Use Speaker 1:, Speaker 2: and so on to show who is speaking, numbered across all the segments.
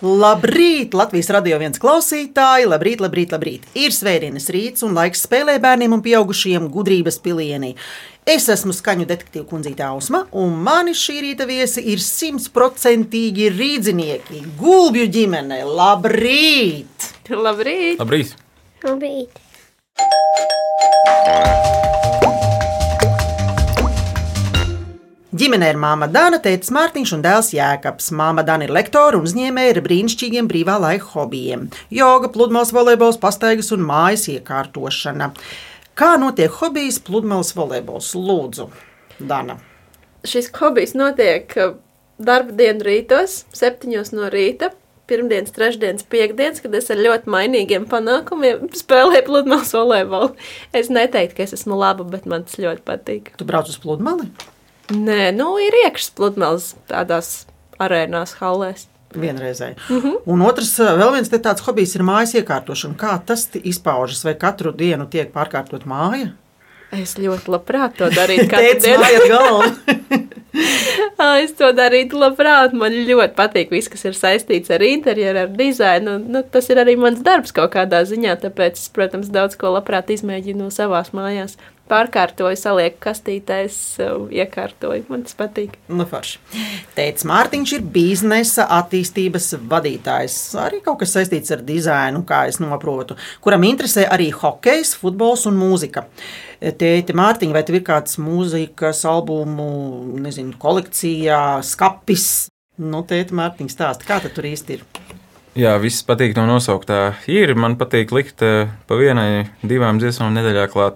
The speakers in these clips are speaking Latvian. Speaker 1: Labrīt, Latvijas radio viens klausītāji! Labrīt, labrīt, labrīt! Ir svētdienas rīts un laiks spēlē bērniem un pieaugušiem gudrības pilienī. Es esmu skaņu detektīva kundzīte Ausma, un mani šī rīta viesi ir simtprocentīgi rīznieki, gulbju ģimene. Labrīt!
Speaker 2: Labrīt!
Speaker 3: Labrīt!
Speaker 4: Labrīt.
Speaker 1: Ģimenē ir māma Dana, tēvs Mārtiņš un dēls Jēkabs. Māma Dana ir lektore un uzņēmēja ar brīnišķīgiem brīvā laika hobijiem - joga, pludmales volejbols, pastaigas un mājas iekārtošana. Kā notiek hobijas pludmales volejbols? Lūdzu, Dana.
Speaker 2: Šis hobijs notiek uh, darba dienu rītos, septiņos no rīta. Pirmdienas, trešdienas, piekdienas, kad es ar ļoti mainīgiem panākumiem spēlēju pludmales volejbolu. Es neteiktu, ka es esmu laba, bet man tas ļoti patīk.
Speaker 1: Tu brauc uz pludmali?
Speaker 2: Nē, nu ir iekšas pludmales tādās arēnās, hallēs.
Speaker 1: Vienreizēji. Mm -hmm. Un otrs, vēl viens te tāds hobijs ir mājas iekārtošana. Kā tas ti izpaužas? Vai katru dienu tiek pārkārtot māja?
Speaker 2: Es ļoti labprāt to darītu. katru
Speaker 1: Tēvs, māja ir galva.
Speaker 2: Ā, Ah, Es to darītu labprāt. Man ļoti patīk viss, kas ir saistīts ar interjeru, ar dizainu. un, Nu, tas ir arī mans darbs kaut kādā ziņā. Tāpēc es, protams, daudz ko labprāt izmēģinu savā mājās. Pārkārtoju, salieku kastītēs, sev iekārtoju. Man tas patīk.
Speaker 1: Nu, forši. Tēvs Mārtiņš ir biznesa attīstības vadītājs. Arī kaut kas saistīts ar dizainu, kā es saprotu, kuram interesē arī hokejs, futbols un mūzika. Tēti Mārtiņ, vai tev ir kāds mūzikas albumu, nezinu, kolekcijā, skapis? Nu, tēti Mārtiņ, stāsti, kā tad tur īsti ir?
Speaker 3: Jā, viss patīk no nosauktā. Ir, man patīk likt eh, pa vienai, divām dziesmām nedēļā klāt,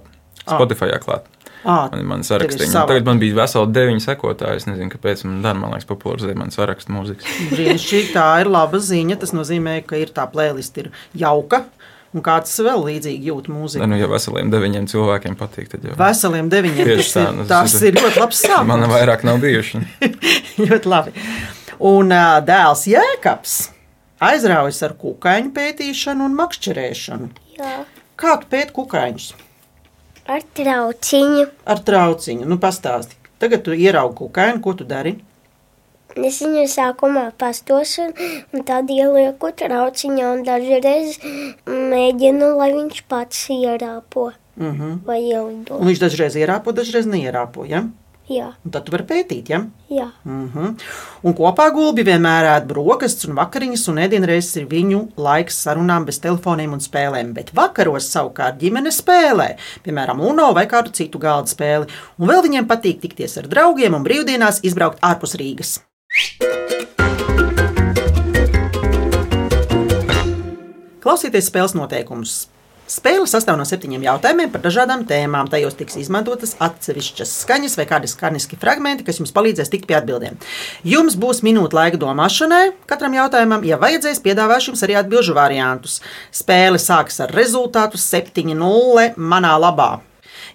Speaker 1: Ah.
Speaker 3: Spotify klāt.
Speaker 1: À,
Speaker 3: Man ir mans
Speaker 1: tev ir
Speaker 3: saraksts.
Speaker 1: sava.
Speaker 3: Tagad man bija veseli deviņi sekotāji. Es nezinu, kāpēc man dara, man liekas, popularizē man sarakstu mūzikas.
Speaker 1: Brīnišķīgi, tā ir laba ziņa. Tas nozīmē, ka ir tā plēliste ir jauka un kāds vēl līdzīgi jūt
Speaker 3: Nē,
Speaker 1: mūziku.
Speaker 3: Nu, ja veseliem deviņiem cilvēkiem patīk, tad jau.
Speaker 1: Veseliem deviņiem tas
Speaker 3: Tieši tā,
Speaker 1: ir,
Speaker 3: nu,
Speaker 1: tas
Speaker 3: tas ir-
Speaker 1: ir ļoti labs sākums.
Speaker 3: Man vairāk nav bijuši.
Speaker 1: Ļoti labi. Un ā, dēls Jēkabs aizraujas ar kukaiņu pētīšanu un makšķerēšanu.
Speaker 4: Jā.
Speaker 1: Kādu pēt kukaiņus?
Speaker 4: Ar trauciņu.
Speaker 1: Ar trauciņu. Nu, pastāsti. Tagad tu ieraugi kukaini, ko tu dari?
Speaker 4: Es viņu sākumā pastos un, un tad ielieku trauciņā un dažreiz mēģinu, lai viņš pats ierāpo
Speaker 1: Uh -huh.
Speaker 4: vai ielido.
Speaker 1: Un viņš dažreiz ierāpo, dažreiz neierāpo. Ja?
Speaker 4: Jā,
Speaker 1: Un tad tu vari pētīt. Ja?
Speaker 4: jā.
Speaker 1: Uh -huh. Un kopā gulbi vienmēr ēd brokastis un vakariņas, un ēdienreizes ir viņu laiks sarunām bez telefoniem un spēlēm. Bet vakaros savukārt ģimene spēlē, piemēram, UNO vai kādu citu galda spēli. Un vēl viņiem patīk tikties ar draugiem un brīvdienās izbraukt ārpus Rīgas. Klausieties spēles noteikumus. Spēle sastāv no septiņiem jautājumiem par dažādām tēmām. Tajos tiks izmantotas atsevišķas skaņas vai kādi skaņiski fragmenti, kas jums palīdzēs tikt pie atbildēm. Jums būs minūte laika domāšanai katram jautājumam, ja vajadzēs, piedāvāšu jums arī atbildžu variantus. Spēle sāksies ar rezultātu 7-0 manā labā.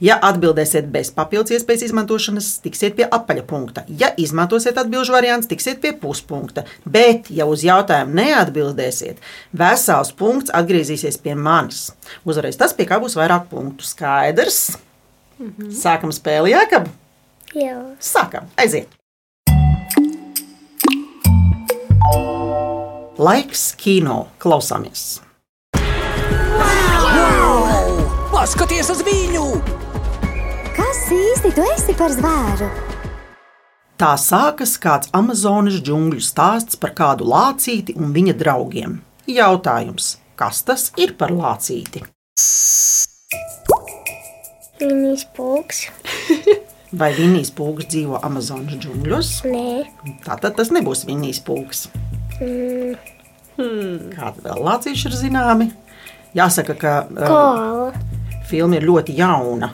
Speaker 1: Ja atbildēsiet bez papildus iespējas izmantošanas, tiksiet pie apaļa punkta. Ja izmantosiet atbildžu variantu, tiksiet pie puspunkta. Bet, ja uz jautājumu neatbildēsiet, vesels punkts atgriezīsies pie manis. Uzvarēs tas, pie kā būs vairāk punktu. Skaidrs? Mhm. Sākam spēli, Jākab!
Speaker 4: jā.
Speaker 1: Sākam, aiziet! Laiks kino klausāmies!
Speaker 5: Paskaties uz viņu!
Speaker 6: Kas īsti tu esi par zvēru?
Speaker 1: Tā sākas kāds Amazonas džungļu stāsts par kādu lācīti un viņa draugiem. Jautājums, kas tas ir par lācīti?
Speaker 4: Minīs pūks.
Speaker 1: Vai vinīs pūks dzīvo Amazonas džungļos?
Speaker 4: Nē,
Speaker 1: Tātad tas nebūs vinīs pūks. Kāda vēl lācīša ir zināmi? Jāsaka, ka uh,
Speaker 4: koala.
Speaker 1: filma ir ļoti jauna.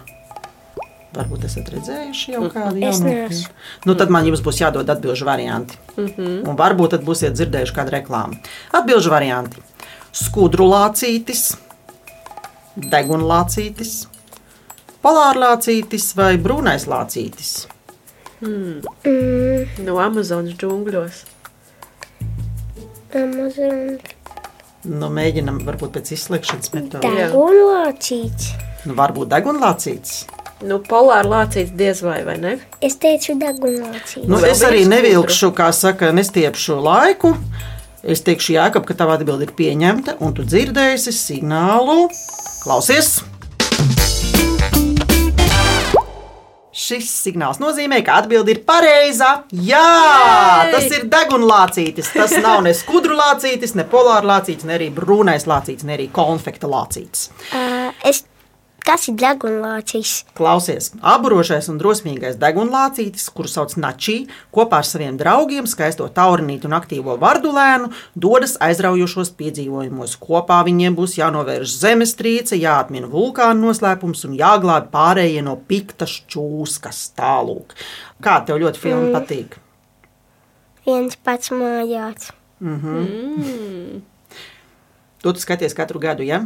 Speaker 1: Varbūt esat redzējuši jau kādu
Speaker 4: Es
Speaker 1: jaunu
Speaker 4: neesmu.
Speaker 1: filmu. Nu, tad man jums būs jādod atbildžu varianti. Un varbūt tad būsiet dzirdējuši kādu reklāmu. Atbildžu varianti. Skudru lācītis, degunlācītis, polārlācītis vai brūnais lācītis.
Speaker 4: Mm,
Speaker 2: No Amazonas džungļos.
Speaker 4: Amazonas
Speaker 1: Nu, mēģinam, varbūt pēc izslēgšanas metodas.
Speaker 4: degunlācīts.
Speaker 1: Nu, varbūt degunlācītis.
Speaker 2: Nu, polāri lācīts diez vai, vai ne?
Speaker 4: Es teicu degunlācīts.
Speaker 1: Nu,
Speaker 2: Vēl
Speaker 1: es arī
Speaker 2: viens
Speaker 1: nevilkšu, kā saka, nestiepšu laiku. Es teikšu, Jākap, ka tava atbilde ir pieņemta, un tu dzirdēsi signālu. Klausies! Šis signāls nozīmē, ka atbilde ir pareiza. Jā, Jei! tas ir degunlācītis. Tas nav ne skudrlācītis, ne polārlācītis, ne arī brūnais lācītis, ne arī konfekta lācītis.
Speaker 4: Ā, Es, kas ir degunlācis?
Speaker 1: Klausies, apburošais un drosmīgais degunlācītis, kuru sauc Načī, kopā ar saviem draugiem, skaisto taurinītu un aktīvo vardulēnu, dodas aizraujošos piedzīvojumos. Kopā viņiem būs jānovērš zemestrīce, jāatmina vulkāna noslēpums un jāglābj pārējie no piktas čūskas tālūk. Kā tev ļoti filma patīk?
Speaker 4: Viens pats mājās.
Speaker 1: To tu skaties katru gadu, ja?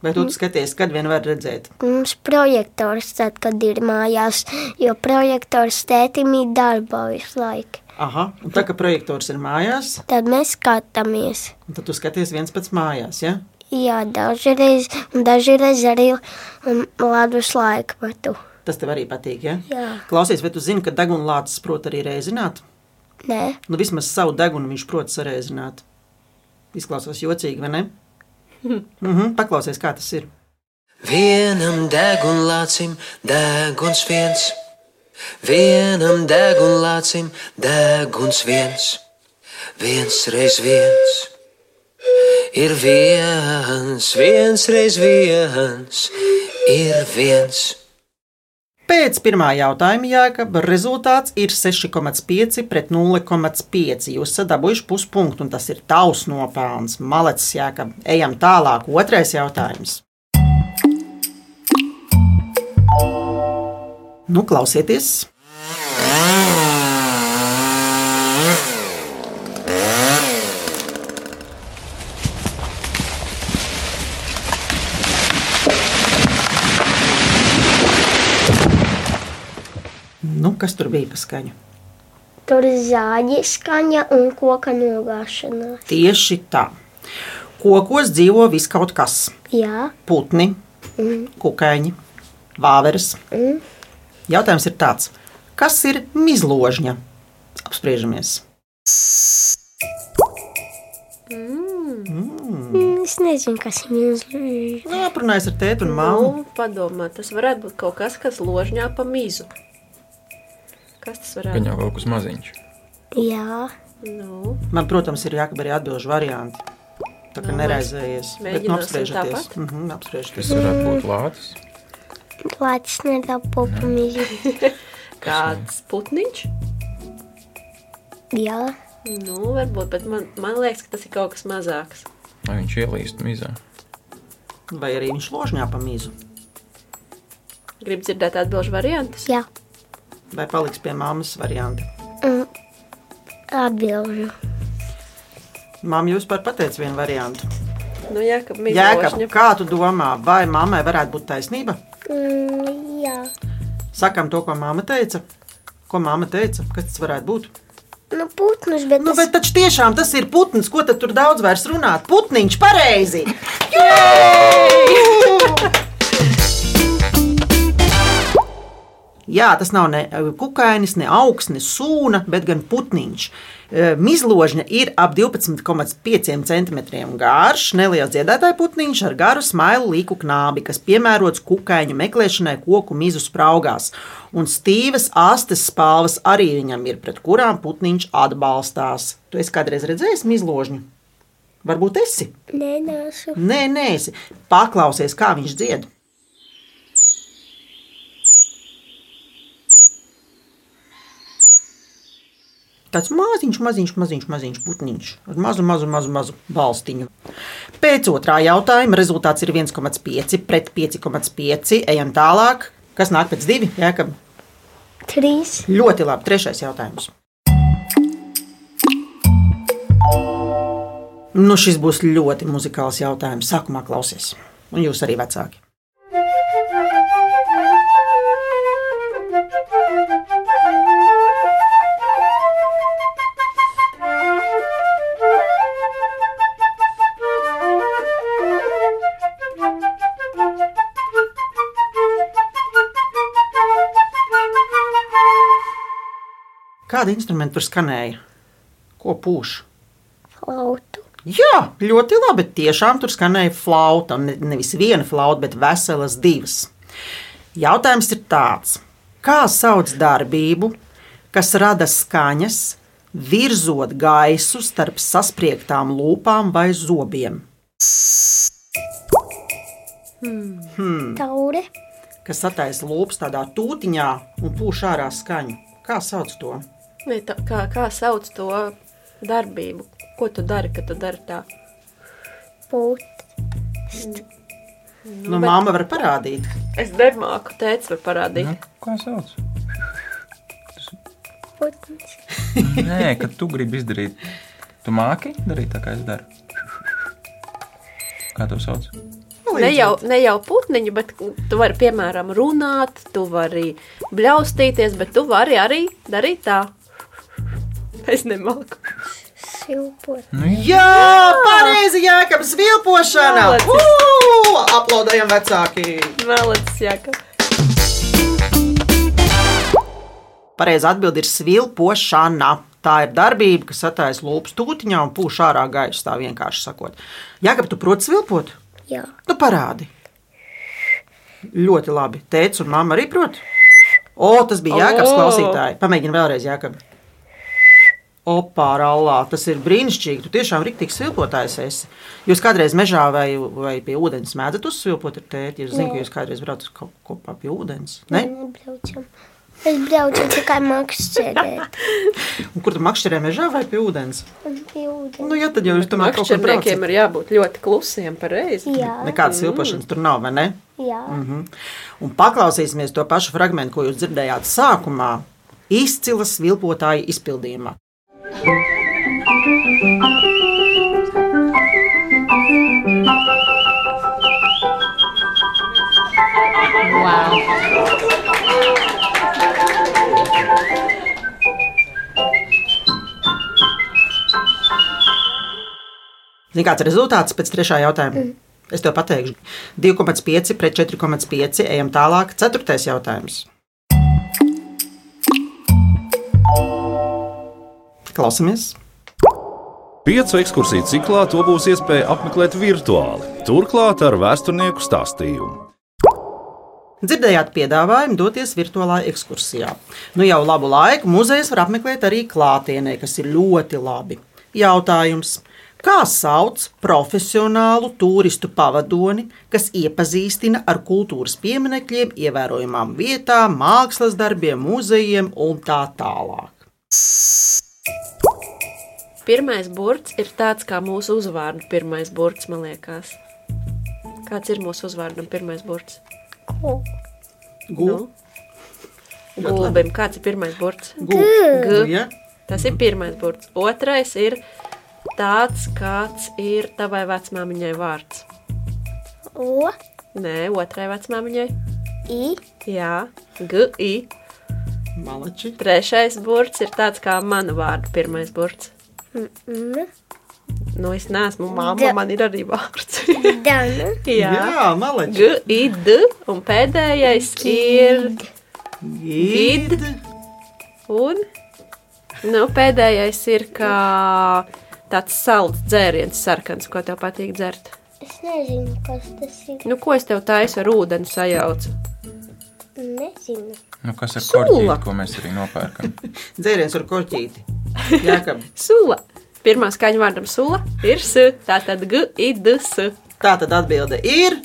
Speaker 1: Vai tu, tu skaties, kad vien var redzēt?
Speaker 4: Mums projektors, tad, kad ir mājās, jo projektors tētim ir darbā visu laiku.
Speaker 1: Aha, un tā kā projektors ir mājās,
Speaker 4: Tad mēs skatāmies.
Speaker 1: un tad tu skaties viens pats mājās, ja?
Speaker 4: Jā, dažreiz, un dažreiz arī um, ledus laikmetu.
Speaker 1: Tas tev arī patīk, ja?
Speaker 4: Jā.
Speaker 1: Klausies, vai tu zini, ka degunlācis prot arī rēzināt?
Speaker 4: Nē,
Speaker 1: Nu, vismaz savu degunu viņš prot sarēzināt. Izklausās jocīgi, vai ne? Mm -hmm, paklausies, kā tas ir.
Speaker 5: Vienam degunlācim deguns viens, vienam degunlācim deguns viens, viens reiz viens. Ir viens, viens reiz viens, ir viens.
Speaker 1: Pēc pirmā jautājuma, Jākapa, rezultāts ir 6,5 pret 0,5. Jūs esat dabūjuši puspunktu, un tas ir tavs nopelns. Malecis, Jākapa, ejam tālāk. Otrais jautājums. Nu, klausieties! Nu, kas tur bija pa skaņu?
Speaker 4: tur ir zāģi skaņa un koka nogāšanās.
Speaker 1: Tieši tā. Kokos dzīvo viskaut kas.
Speaker 4: Jā,
Speaker 1: putni, kukaiņi, vāveres. Jautājums ir tāds, kas ir mizložņa? Apspriežamies.
Speaker 4: Mm, es nezinu, kas ir mīlestības.
Speaker 1: Nu, Aprunājos ar tēti un māmu.
Speaker 2: Nu, padomā, tas varētu būt kaut kas, kas ložņā pa mizu. Kas tas varētu
Speaker 3: Viņam kaut kas maziņš.
Speaker 4: Jā,
Speaker 2: būt? Nu,
Speaker 1: Man, protams, ir jākab arī atbilžu varianti. Tā kā nerēzējies. Bet nu,
Speaker 2: mēģināsim
Speaker 1: apspriežaties.
Speaker 2: tāpat.
Speaker 1: Mhm, apspriežaties.
Speaker 3: Tas varētu būt lācis.
Speaker 4: plācis nedabūpa mīlestība.
Speaker 2: kāds putniņš?
Speaker 4: Jā,
Speaker 2: Nu, varbūt, bet man, man liekas, ka tas ir kaut kas mazāks.
Speaker 3: Vai viņš ielīst mizā?
Speaker 1: Vai arī viņš ložņā pamīzu.
Speaker 2: Gribu dzirdēt atbildžu variantus.
Speaker 4: jā,
Speaker 1: Vai paliks pie māmas varianta?
Speaker 4: atbilžu.
Speaker 1: Māma, jūs par pateicu vienu variantu.
Speaker 2: Nu, jā, ka mizu
Speaker 1: Jā,
Speaker 2: ložņa.
Speaker 1: kā tu domā, vai mammai varētu būt taisnība?
Speaker 4: Mm, jā,
Speaker 1: Sakām to, ko māma teica. Ko māma teica? Kas tas varētu būt?
Speaker 4: nu putnus, bet,
Speaker 1: Nu,
Speaker 4: nu,
Speaker 1: bet taču tiešām tas ir putns, ko tad tur daudz vairs runāt? Putniņš pareizi! Jā, tas nav ne eh, kukainis, ne augs, ne sūna, bet gan putniņš. E, Mizložņa ir ap 12,5 cm garš, neliels dziedātāja putniņš ar garu smailu līku knābi, kas piemērots kukaiņu meklēšanai koku mizu spraugās. Un stīvas astes spalvas arī viņam ir, pret kurām putniņš atbalstās. Tu esi kādreiz redzējis mizložņu? Varbūt esi?
Speaker 4: nē, nesu.
Speaker 1: Nē, nē, esi. Paklausies, kā viņš dzied. Tāds maziņš, maziņš, maziņš, maziņš putniņš ar mazu, mazu, mazu, mazu balstiņu. Pēc otrā jautājuma rezultāts ir 1,5 pret 5,5. Ejam tālāk. Kas nāk pēc divi? Jā, ka
Speaker 4: Trīs,
Speaker 1: ļoti labi. Trešais jautājums. Nu, šis būs ļoti muzikāls jautājums. Sākumā klausies, un jūs arī vecāki. Kāda instrumenta tur skanēja? Ko pūš?
Speaker 4: flauta.
Speaker 1: Jā, ļoti labi. Tiešām tur skanēja flauta. un ne- Nevis viena flauta, bet veselas divas. Jautājums ir tāds, kā sauc darbību, kas rada skaņas, virzot gaisu starp saspriegtām lūpām vai zobiem,
Speaker 4: taure,
Speaker 1: kas attaisno lūpas tādā tūtiņā un pūš ārā skaņu? Kā sauc to?
Speaker 2: Vai tā- Kā, kā sauc to darbību? Ko tu dari, kad tu dari tā?
Speaker 4: pūt,
Speaker 1: Nu, Māma var parādīt.
Speaker 2: Es nemāku, teicu, var parādīt.
Speaker 3: Nu, Kā sauc?
Speaker 4: putns,
Speaker 3: Nē, kad tu gribi izdarīt, tu māki darīt tā, kā es daru. Kā tev sauc?
Speaker 2: Ne jau, ne jau putniņu, bet tu vari, piemēram, runāt, tu vari bļaustīties, bet tu vari arī darīt tā. Es nemāku.
Speaker 4: silpot,
Speaker 1: Jā, pareizi, Jānis, vilpošana!
Speaker 2: Malacis.
Speaker 1: Ū, Aplaudējam vecākiem!
Speaker 2: Vēlētas jāka.
Speaker 1: Pareizā atbilde ir svilpošana. Tā ir darbība, kas attaisno lūpas tūtiņā un pūš ārā gaisu. Tā vienkārši sakot, Jānis, tu proti svilpot?
Speaker 4: jā,
Speaker 1: Nu, parādi. Ļoti labi. Teicu, un mamma arī prot. O, tas bija Jānis
Speaker 2: O!
Speaker 1: klausītāji. Pamēģini vēlreiz, Jānis. Opā, allā, tas ir brīnišķīgi. Tu tiešām rīktīgs svilpotājs esi. Jūs kādreiz mežā vai, vai pie ūdens mēdzat uzsvilpot ar tēti? Es zinu, ka jūs kādreiz braucat ko- kopā pie ūdens. Ne?
Speaker 4: nebraucam. Es braucu tikai makšķerēt
Speaker 1: Un kur tu makšķerē mežā vai pie ūdens?
Speaker 4: un
Speaker 1: Nu,
Speaker 4: pildīt.
Speaker 1: jā, tad jau jūs tomēr kaut kur
Speaker 2: Makšķerniekiem
Speaker 1: braucat.
Speaker 2: ir jābūt ļoti klusiem pareizi.
Speaker 4: Jā,
Speaker 1: Nekādas svilpošanas tur nav, vai ne?
Speaker 4: jā,
Speaker 1: Mhm. Un paklausīsimies to pašu fragment, ko jūs dzirdējāt sākumā, izcilas vilpotāja izpildījumā. Zini, kāds ir rezultāts pēc trešā jautājuma? Mm. Es tev pateikšu, 2,5 pret 4,5. Ejam tālāk. Ceturtais jautājums. Klausamies!
Speaker 7: Piecu ekskursiju ciklā to būs iespēja apmeklēt virtuāli, turklāt ar vēsturnieku stāstījumu.
Speaker 1: Dzirdējāt piedāvājumu doties virtuālā ekskursijā. Nu jau labu laiku muzejs var apmeklēt arī klātienē, kas ir ļoti labi. Jautājums. Kā sauc profesionālu turistu pavadoni, kas iepazīstina ar kultūras pieminekļiem, ievērojamām vietām, mākslas darbiem, muzejiem un tā tālāk?
Speaker 2: Pirmais burts ir tāds kā mūsu uzvārdu pirmais burts, man liekas. Kāds ir mūsu uzvārdam pirmais burts?
Speaker 4: ko,
Speaker 1: Gu-
Speaker 2: Gulbim, kāds ir pirmais burts?
Speaker 1: gu- nu,
Speaker 2: G.
Speaker 1: Ja?
Speaker 2: Tas ir pirmais burts. Otrais ir tāds, kāds ir tavai vecmāmiņai vārds.
Speaker 4: o,
Speaker 2: Nē, otrai vecmāmiņai.
Speaker 4: i,
Speaker 2: Jā, GI.
Speaker 1: Malači.
Speaker 2: Trešais burts ir tāds kā mana vārda pirmais burts.
Speaker 4: n,
Speaker 2: Nu, es neesmu mamma,
Speaker 4: Da.
Speaker 2: man ir arī vārds.
Speaker 4: dana,
Speaker 2: Jā,
Speaker 1: Jā, malači.
Speaker 2: GID. Un pēdējais ir.
Speaker 1: Gid.
Speaker 2: Un nu, pēdējais ir kā tāds salds dzēriens, sarkans, ko tev patīk dzert.
Speaker 4: es nezinu, kas tas ir,
Speaker 2: Nu, ko es tev taisu ar ūdeni sajaucu?
Speaker 4: nezinu,
Speaker 3: Nu, kas ir
Speaker 2: Sula.
Speaker 3: korķis, ko mēs arī nopērkam?
Speaker 1: Dzēriens ar korķīti. Jākam.
Speaker 2: Sula. Pirmā skaņa vārdam sula ir s. Tā tad g, i, d, s.
Speaker 1: Tā tad atbilde ir.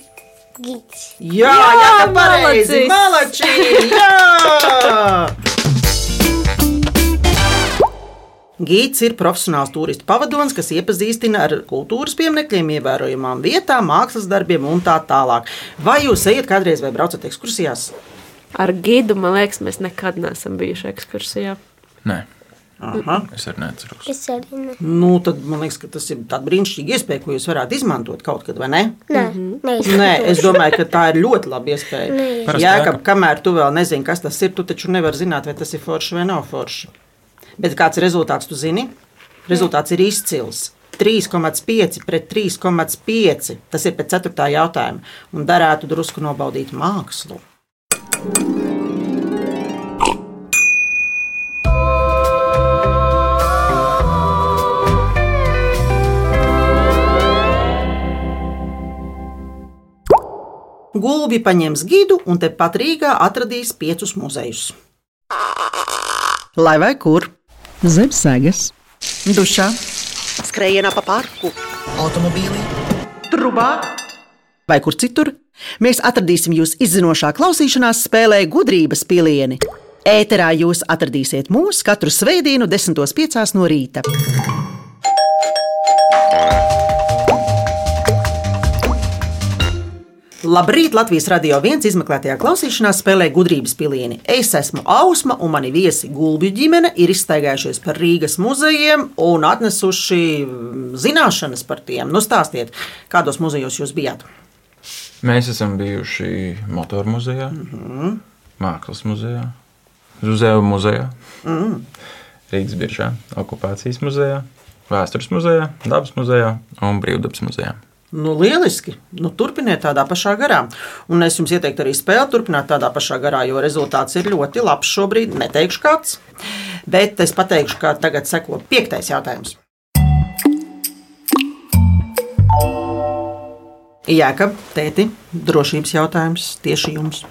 Speaker 4: gids.
Speaker 1: Jā,
Speaker 2: Jā,
Speaker 1: jā, tā ir pareizi!
Speaker 2: malacis!
Speaker 1: Malači! Jā! Gīts ir profesionāls turistu pavadonis, kas iepazīstina ar kultūras pieminekļiem, ievērojamām vietām, mākslas darbiem un tā tālāk. Vai jūs ejat kādreiz vai braucat ekskursijās?
Speaker 2: Ar gidu, man liekas, mēs nekad neesam bijuši ekskursijā.
Speaker 3: Nē,
Speaker 1: Aha.
Speaker 3: es arī neatceros.
Speaker 4: Es arī ne,
Speaker 1: Nu, tad man liekas, ka tas ir tāds brīnišķīgs iespēja, ko jūs varētu izmantot kaut kad, vai ne?
Speaker 4: nē, neizmantošu.
Speaker 1: Nē, es domāju, ka tā ir ļoti laba iespēja.
Speaker 3: Parasti
Speaker 1: Jā, ka
Speaker 3: jākap.
Speaker 1: kamēr tu vēl nezini, kas tas ir, tu taču nevari zināt, vai tas ir forši vai nav forši. Bet kāds ir rezultāts, tu zini? Rezultāts ir izcils. 3,5 pret 3,5. Tas ir pēc 4. jautājuma. Un darētu drusku nobaudīt mākslu. Gulbi paņems gidu un tepat Rīgā atradīs piecus muzejus.
Speaker 8: Lai vai kur,
Speaker 9: zem segas,
Speaker 8: dušā
Speaker 9: skrejienā pa parku
Speaker 5: automobīlī,
Speaker 8: vai kur citur, mēs atradīsim jūs izzinošā klausīšanās spēlē gudrības pilieni. Ēterā jūs atradīsiet mūs katru svētdienu, 10.5. no rīta.
Speaker 1: Labrīt! Latvijas radio viens izmeklētajā klausīšanās spēlē gudrības pilieni. Es esmu Ausma, un mani viesi Gulbju ģimene ir izstaigājušies par Rīgas muzejiem un atnesuši mm, zināšanas par tiem. Nu, stāstiet, kādos muzejos jūs bijāt?
Speaker 3: Mēs esam bijuši motoru muzejā, mm -hmm.
Speaker 1: Mhm.
Speaker 3: mākslas muzejā, Zuzēva muzejā, mm.
Speaker 1: Mhm.
Speaker 3: Rīgas biržā, okupācijas muzejā, vēstures muzejā, dabas muzejā un brīvdabas muzejā.
Speaker 1: Nu, lieliski. Nu, turpiniet tādā pašā garā. Un es jums ieteiktu arī spēli turpināt tādā pašā garā, jo rezultāts ir ļoti labs šobrīd. Neteikšu kāds, bet es pateikšu, ka tagad seko piektais jautājums. Jā, ka tēti, drošības jautājums tieši jums.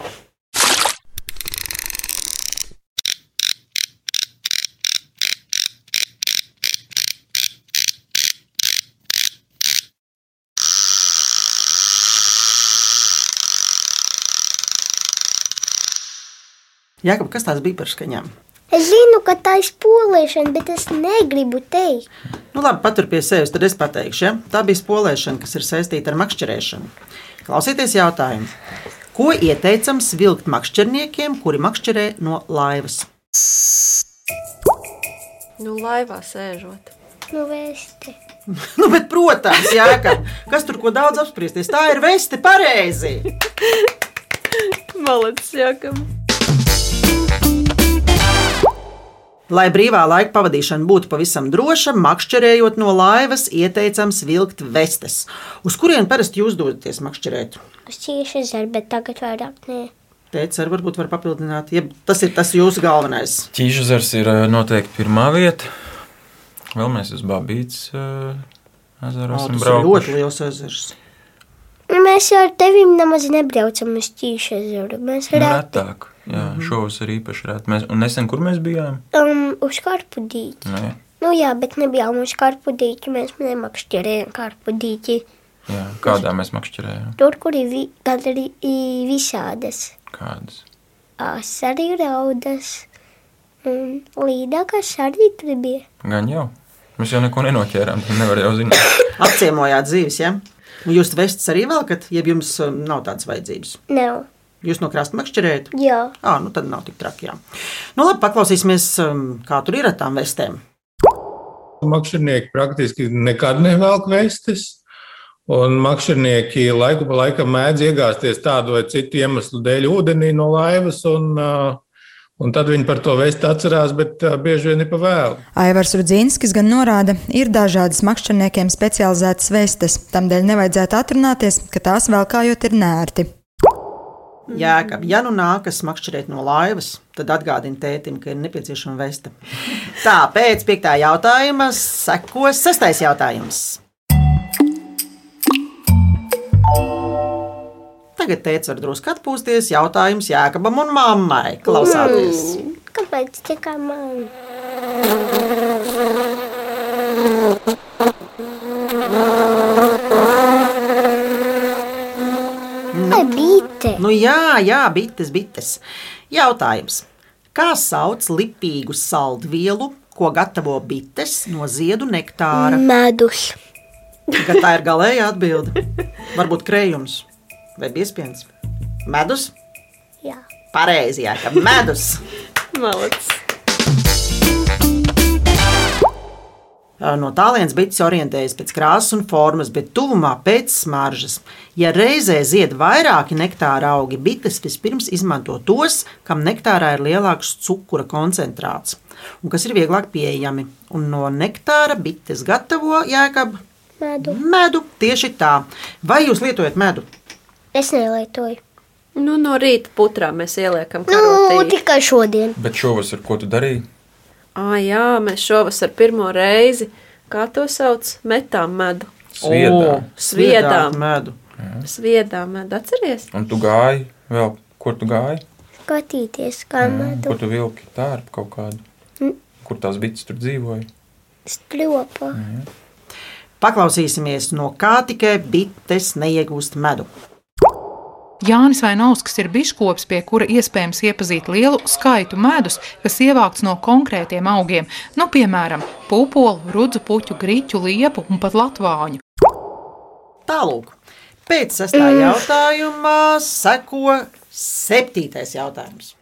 Speaker 1: Jā, ka kas tās bija par skaņām?
Speaker 4: Es zinu, ka tā ir polēšana, bet es negribu teikt.
Speaker 1: Nu, labi, patur pie sevis, tad es pateikšu. Ja? Tā bija spolēšana, kas ir saistīta ar makšķerēšanu. Klausieties, jautājumu. Ko ieteicams vilkt makšķerniekiem, kuri makšķerē no laivas?
Speaker 2: Nu, laivā sēžot.
Speaker 4: Nu, vēsti.
Speaker 1: Nu, bet, protams, jā, ka, kas tur ko daudz apspriesties. Tā ir veste pareizi.
Speaker 2: Malacis jākam.
Speaker 1: Lai brīvā laika pavadīšana būtu pavisam droša, makšķerējot no laivas, ieteicams vilkt vestes. Uz kurien parasti jūs dodaties makšķerēt?
Speaker 4: Es cieši zinu, bet tagad vairāk nē.
Speaker 1: Teicis, ar varbūt var papildināt, ja tas ir tas jūsu galvenais.
Speaker 3: Čīžuzars ir eh, noteikti pirmā vieta. Vēl mēs uz Babīts eh, ezeru
Speaker 1: Tas
Speaker 3: esam
Speaker 1: ir ļoti
Speaker 3: braukuši.
Speaker 1: liels ezers.
Speaker 4: Nu, Mēs jau ar tevi nemaz nebraucam uz ķīšu ezeru. Mēs
Speaker 3: Nu,
Speaker 4: redzam
Speaker 3: Retāk. Jā,
Speaker 1: Mhm.
Speaker 3: šovas ir īpaši rēt. Mēs, un nesen, kur mēs bijām?
Speaker 4: um, uz karpu dīķi.
Speaker 3: Nē,
Speaker 4: Nu jā, bet nebijām uz karpu dīķi, mēs nemakšķerējām karpu dīķi.
Speaker 3: jā, kādā mēs makšķerējām?
Speaker 4: Tur, kur ir vi, gan arī i- visādas
Speaker 3: Kādas?
Speaker 4: asari raudas un līdakas arī tur bija.
Speaker 3: Gan jau. Mēs jau neko nenoķērām. tad Nevar jau zināt.
Speaker 1: Apciemojāt dzīves, ja? Un Jūs vestes arī velkat, ja jums um, nav tādas vajadzības.
Speaker 4: Nav,
Speaker 1: Jūs no krasta makšķerējat?
Speaker 4: jā.
Speaker 1: Ah, nu tad nav tik traki. Jā. Nu, labi, paklausīsimies, um, kā tur ir ar tām vestēm.
Speaker 10: Makšķernieki praktiski nekad nevelk vestes. Un makšķernieki laiku pa laikam mēdz iegāzties tādu vai citu iemeslu dēļ ūdenī no laivas, un, ā, un tad viņi par to vēstu atcerās, bet ā, bieži vien ir pa vēlu.
Speaker 11: Aivars Rudzīnskis gan norāda, ir dažādas makšķerniekiem specializētas vestes, tamdēļ nevajadzētu atrunāties, ka tās velkājot ir nērti.
Speaker 1: Jā, ka ja nu nākas makšķerēt no laivas, tad atgādini tētim, ka ir nepieciešama vesta. Tā, pēc piektā jautājuma sekos sestais jautājums. Tagad tēvs var drusku atpūsties. Jautājums Jākabam un mammai. Klausāties!
Speaker 4: Kāpēc tikai man? Ai, Bīte,
Speaker 1: Nu, jā, jā, bites, bites. Jautājums. Kā sauc lipīgu saldvielu, ko gatavo bites no ziedu nektāra?
Speaker 4: Mm. medus.
Speaker 1: Ka tā ir galējā atbilde. Varbūt krējums vai piespiedu. Medus?
Speaker 4: Jā.
Speaker 1: Pareizi, jā, ka medus.
Speaker 2: Malacis.
Speaker 1: No tālienes bites orientējas pēc krāsas un formas, bet tuvumā pēc smaržas. Ja reizē zied vairāki nektāra augi, bites vispirms izmanto tos, kam nektārā ir lielāks cukura koncentrāts un kas ir vieglāk pieejami. Un no nektāra bites gatavo jēkabu
Speaker 4: Medu.
Speaker 1: medu tieši tā. Vai jūs lietojat medu?
Speaker 4: Es nelietoju.
Speaker 2: Nu, no rīta putrā mēs ieliekam
Speaker 4: Nu,
Speaker 2: karotīti.
Speaker 4: tikai šodien.
Speaker 3: Bet šovasar, ko tu darīji?
Speaker 2: Ā, jā, mēs šovasar pirmo reizi, kā to sauc, metām medu.
Speaker 1: O,
Speaker 3: Sviedā.
Speaker 1: sviedāt
Speaker 2: Sviedām.
Speaker 1: medu.
Speaker 2: Sviedā mēdā atceries?
Speaker 3: Un tu gāji vēl, kur tu gāji?
Speaker 4: Skatīties, kā
Speaker 3: Kur
Speaker 4: māte
Speaker 3: tu vilki tērpu kaut kādu?
Speaker 4: Mm.
Speaker 3: Kur tās bites tur dzīvoja?
Speaker 4: strūpa.
Speaker 1: Paklausīsimies, no kā tikai bites neiegūst medu.
Speaker 12: Jānis Vainauskas ir biškops, pie kura iespējams iepazīt lielu skaitu medus, kas ievākts no konkrētiem augiem, nu, piemēram, pupolu, rudzu puķu, grīķu, liepu un pat latvāņu.
Speaker 1: Tālāk, pēc sestā
Speaker 12: Mm.
Speaker 1: jautājuma seko septītais jautājums.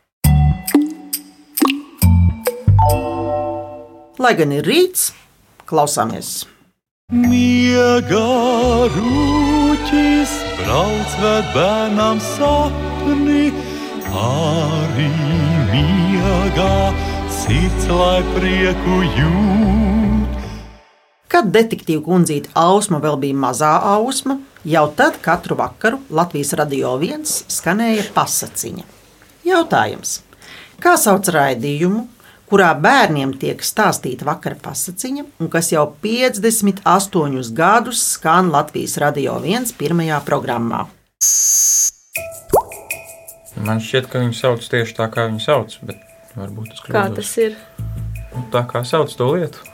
Speaker 1: Lai gan ir rīts, klausāmies.
Speaker 13: Miega rūķis brauc vēl bērnam sapni, arī miega sirds lai prieku jūt.
Speaker 1: Kad detektīva kundzīte Ausma vēl bija mazā ausma, jau tad katru vakaru Latvijas radio viens skanēja pasakiņa. Jautājums, kā sauc raidījumu, kurā bērniem tiek stāstīta vakara pasakiņa, un kas jau 58 gadus skan Latvijas radio viens pirmajā programmā?
Speaker 3: Man šķiet, ka viņi sauc tieši tā, kā viņi sauc. Bet varbūt tas
Speaker 2: Kā tas ir?
Speaker 3: Nu, tā kā sauc to lietu.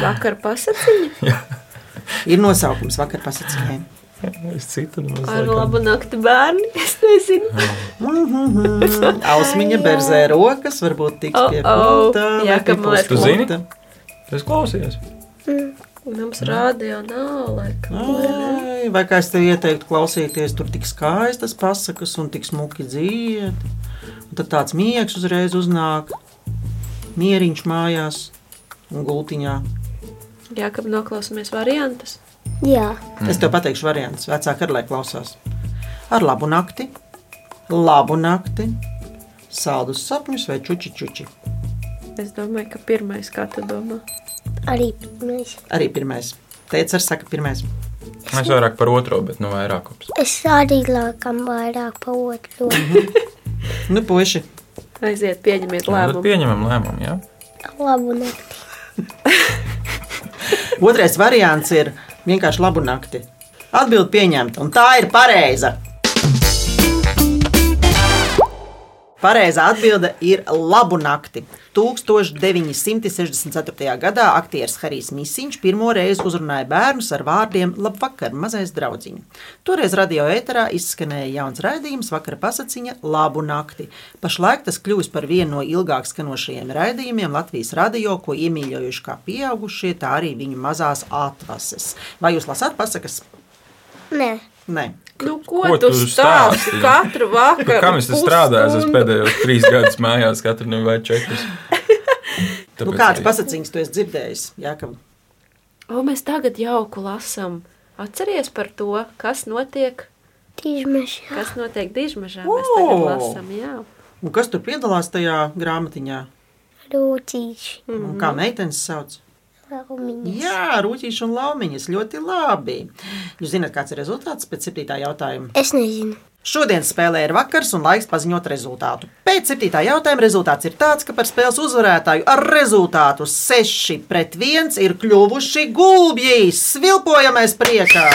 Speaker 2: Vakar pasakiņa
Speaker 1: Ir nosaukums vakar pasakiņai.
Speaker 3: Es citu
Speaker 2: ar labu nakti bērni. Es nezinu.
Speaker 1: Ausmiņa berzē rokas, varbūt tiks
Speaker 2: Oh,
Speaker 1: pie
Speaker 2: oh.
Speaker 1: punkta.
Speaker 2: Jā,
Speaker 1: vai pie
Speaker 2: kam
Speaker 1: punkta.
Speaker 2: liek
Speaker 3: Tu zini? Es klausījos.
Speaker 2: Mums rāda jau nav laika.
Speaker 1: Ai, Vai kā es tev ieteiktu klausīties, tur tik skaistas pasakas un tik smuki dzied. Un tad tāds miegs uzreiz uznāk, mieriņš mājās un gultiņā.
Speaker 2: Jā, ka noklausāmies variantus.
Speaker 4: Jā,
Speaker 1: Es tev pateikšu variants, vecāki ar lai klausās. Ar labu nakti, labu nakti, saldus sapņus vai čuči čuči.
Speaker 2: Es domāju, ka pirmais, kā tu domā,
Speaker 4: arī mēs.
Speaker 1: Arī pirmais. Teicis ar saka pirmais.
Speaker 3: Es vairāk par otro, bet nu vairāk.
Speaker 4: Es arī laikam vairāk pa otru.
Speaker 1: Nu, puiši.
Speaker 2: aiziet, pieņemiet
Speaker 3: Tad
Speaker 2: lēmumu.
Speaker 3: pieņemam lēmumu. Ja?
Speaker 4: Labu nakti.
Speaker 1: Otrais variants ir vienkārši labu nakti. Atbildi pieņemta, un tā ir pareiza. Pareizā atbilde ir labu nakti. 1964. gadā aktieris Harijs Misiņš pirmo reizi uzrunāja bērnus ar vārdiem Labvakar, mazais draugiņš. Toreiz radio ēterā izskanēja jauns raidījums Vakara pasakiņa Labu nakti. Pašlaik tas kļūst par vienu no ilgāk skanošajiem raidījumiem Latvijas radio, ko iemīļojuši kā pieaugušie, tā arī viņu mazās atvases. Vai jūs lasāt pasakas?
Speaker 4: Nē.
Speaker 1: Nē.
Speaker 2: Nu, ko,
Speaker 3: Ko
Speaker 2: ko tu
Speaker 3: tu
Speaker 2: stāsti Nu,
Speaker 3: stāsti?
Speaker 2: katru vakaru?
Speaker 3: Kam es te strādāju? Es pēdējos trīs gadus mājās, katru dienu vai četrus.
Speaker 1: Nu, kādas pasakas tu esi dzirdējis? Jā, ka
Speaker 2: O, mēs tagad jauku lasām. Atceries par to, kas notiek,
Speaker 4: Tīžmeši.
Speaker 2: kas notiek dižmežā. Mēs tagad
Speaker 1: O!
Speaker 2: lasām, jā.
Speaker 1: Un kas tur piedalās tajā grāmatiņā?
Speaker 4: Rūtīši.
Speaker 1: Mm. Kā meitenes sauc?
Speaker 4: Laumiņas.
Speaker 1: Jā, rūtīši un laumiņas. Ļoti labi. Jūs zināt, kāds ir rezultāts pēc septītā jautājuma?
Speaker 4: Es nezinu.
Speaker 1: Šodien spēlē ir vakars un laiks paziņot rezultātu. Pēc septītā jautājuma rezultāts ir tāds, ka par spēles uzvarētāju ar rezultātu 6 pret 1 ir kļuvuši gulbji. Svilpojamies priekā!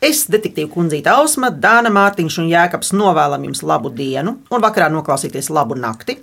Speaker 1: Es, detektīva kundzīte Ausma, Dāna Mārtiņš un Jēkabs novēlam jums labu dienu un vakarā noklausīties labu nakti.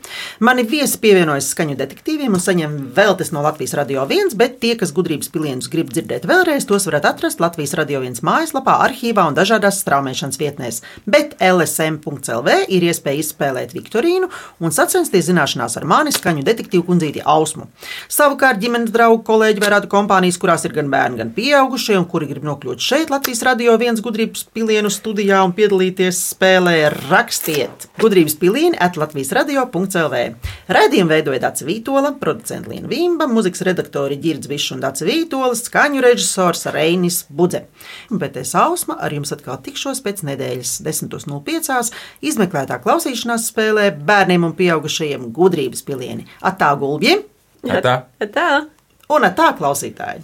Speaker 1: Mani viesi pievienojas skaņu detektīviem un saņem vēlties no Latvijas Radio 1, bet tie, kas gudrības pilienus grib dzirdēt vēlreiz, tos varat atrast Latvijas Radio 1 mājaslapā, arhīvā un dažādās straumēšanas vietnēs. Bet lsm.lv ir iespēja izspēlēt Viktorīnu un sacensties zināšanās ar mani skaņu detektīvu kundzīti Ausmu. Savukārt ģimenes draugu kolēģi vai radu kompānijas, kurās ir gan bērni, gan pieaugušie un kuri grib nokļūt šeit Latvijas radio viens gudrības pilienu studijā un piedalīties spēlē, rakstiet gudrības pilieni at Latvijas radio.clv. Radījumu veidoja Dācis Vītola, producents Lienu Vimba, mūzikas redaktori Girds Višs un Dācis Vītola, skaņu režisors Reinis Budze. Bet es Ausma ar jums atkal tikšos pēc nedēļas 10.05. izmeklētā klausīšanās spēlē bērniem un pieaugušajiem gudrības pilieni. Atā gulbjiem
Speaker 3: Atā.
Speaker 2: Atā.
Speaker 1: un atā klausītāji!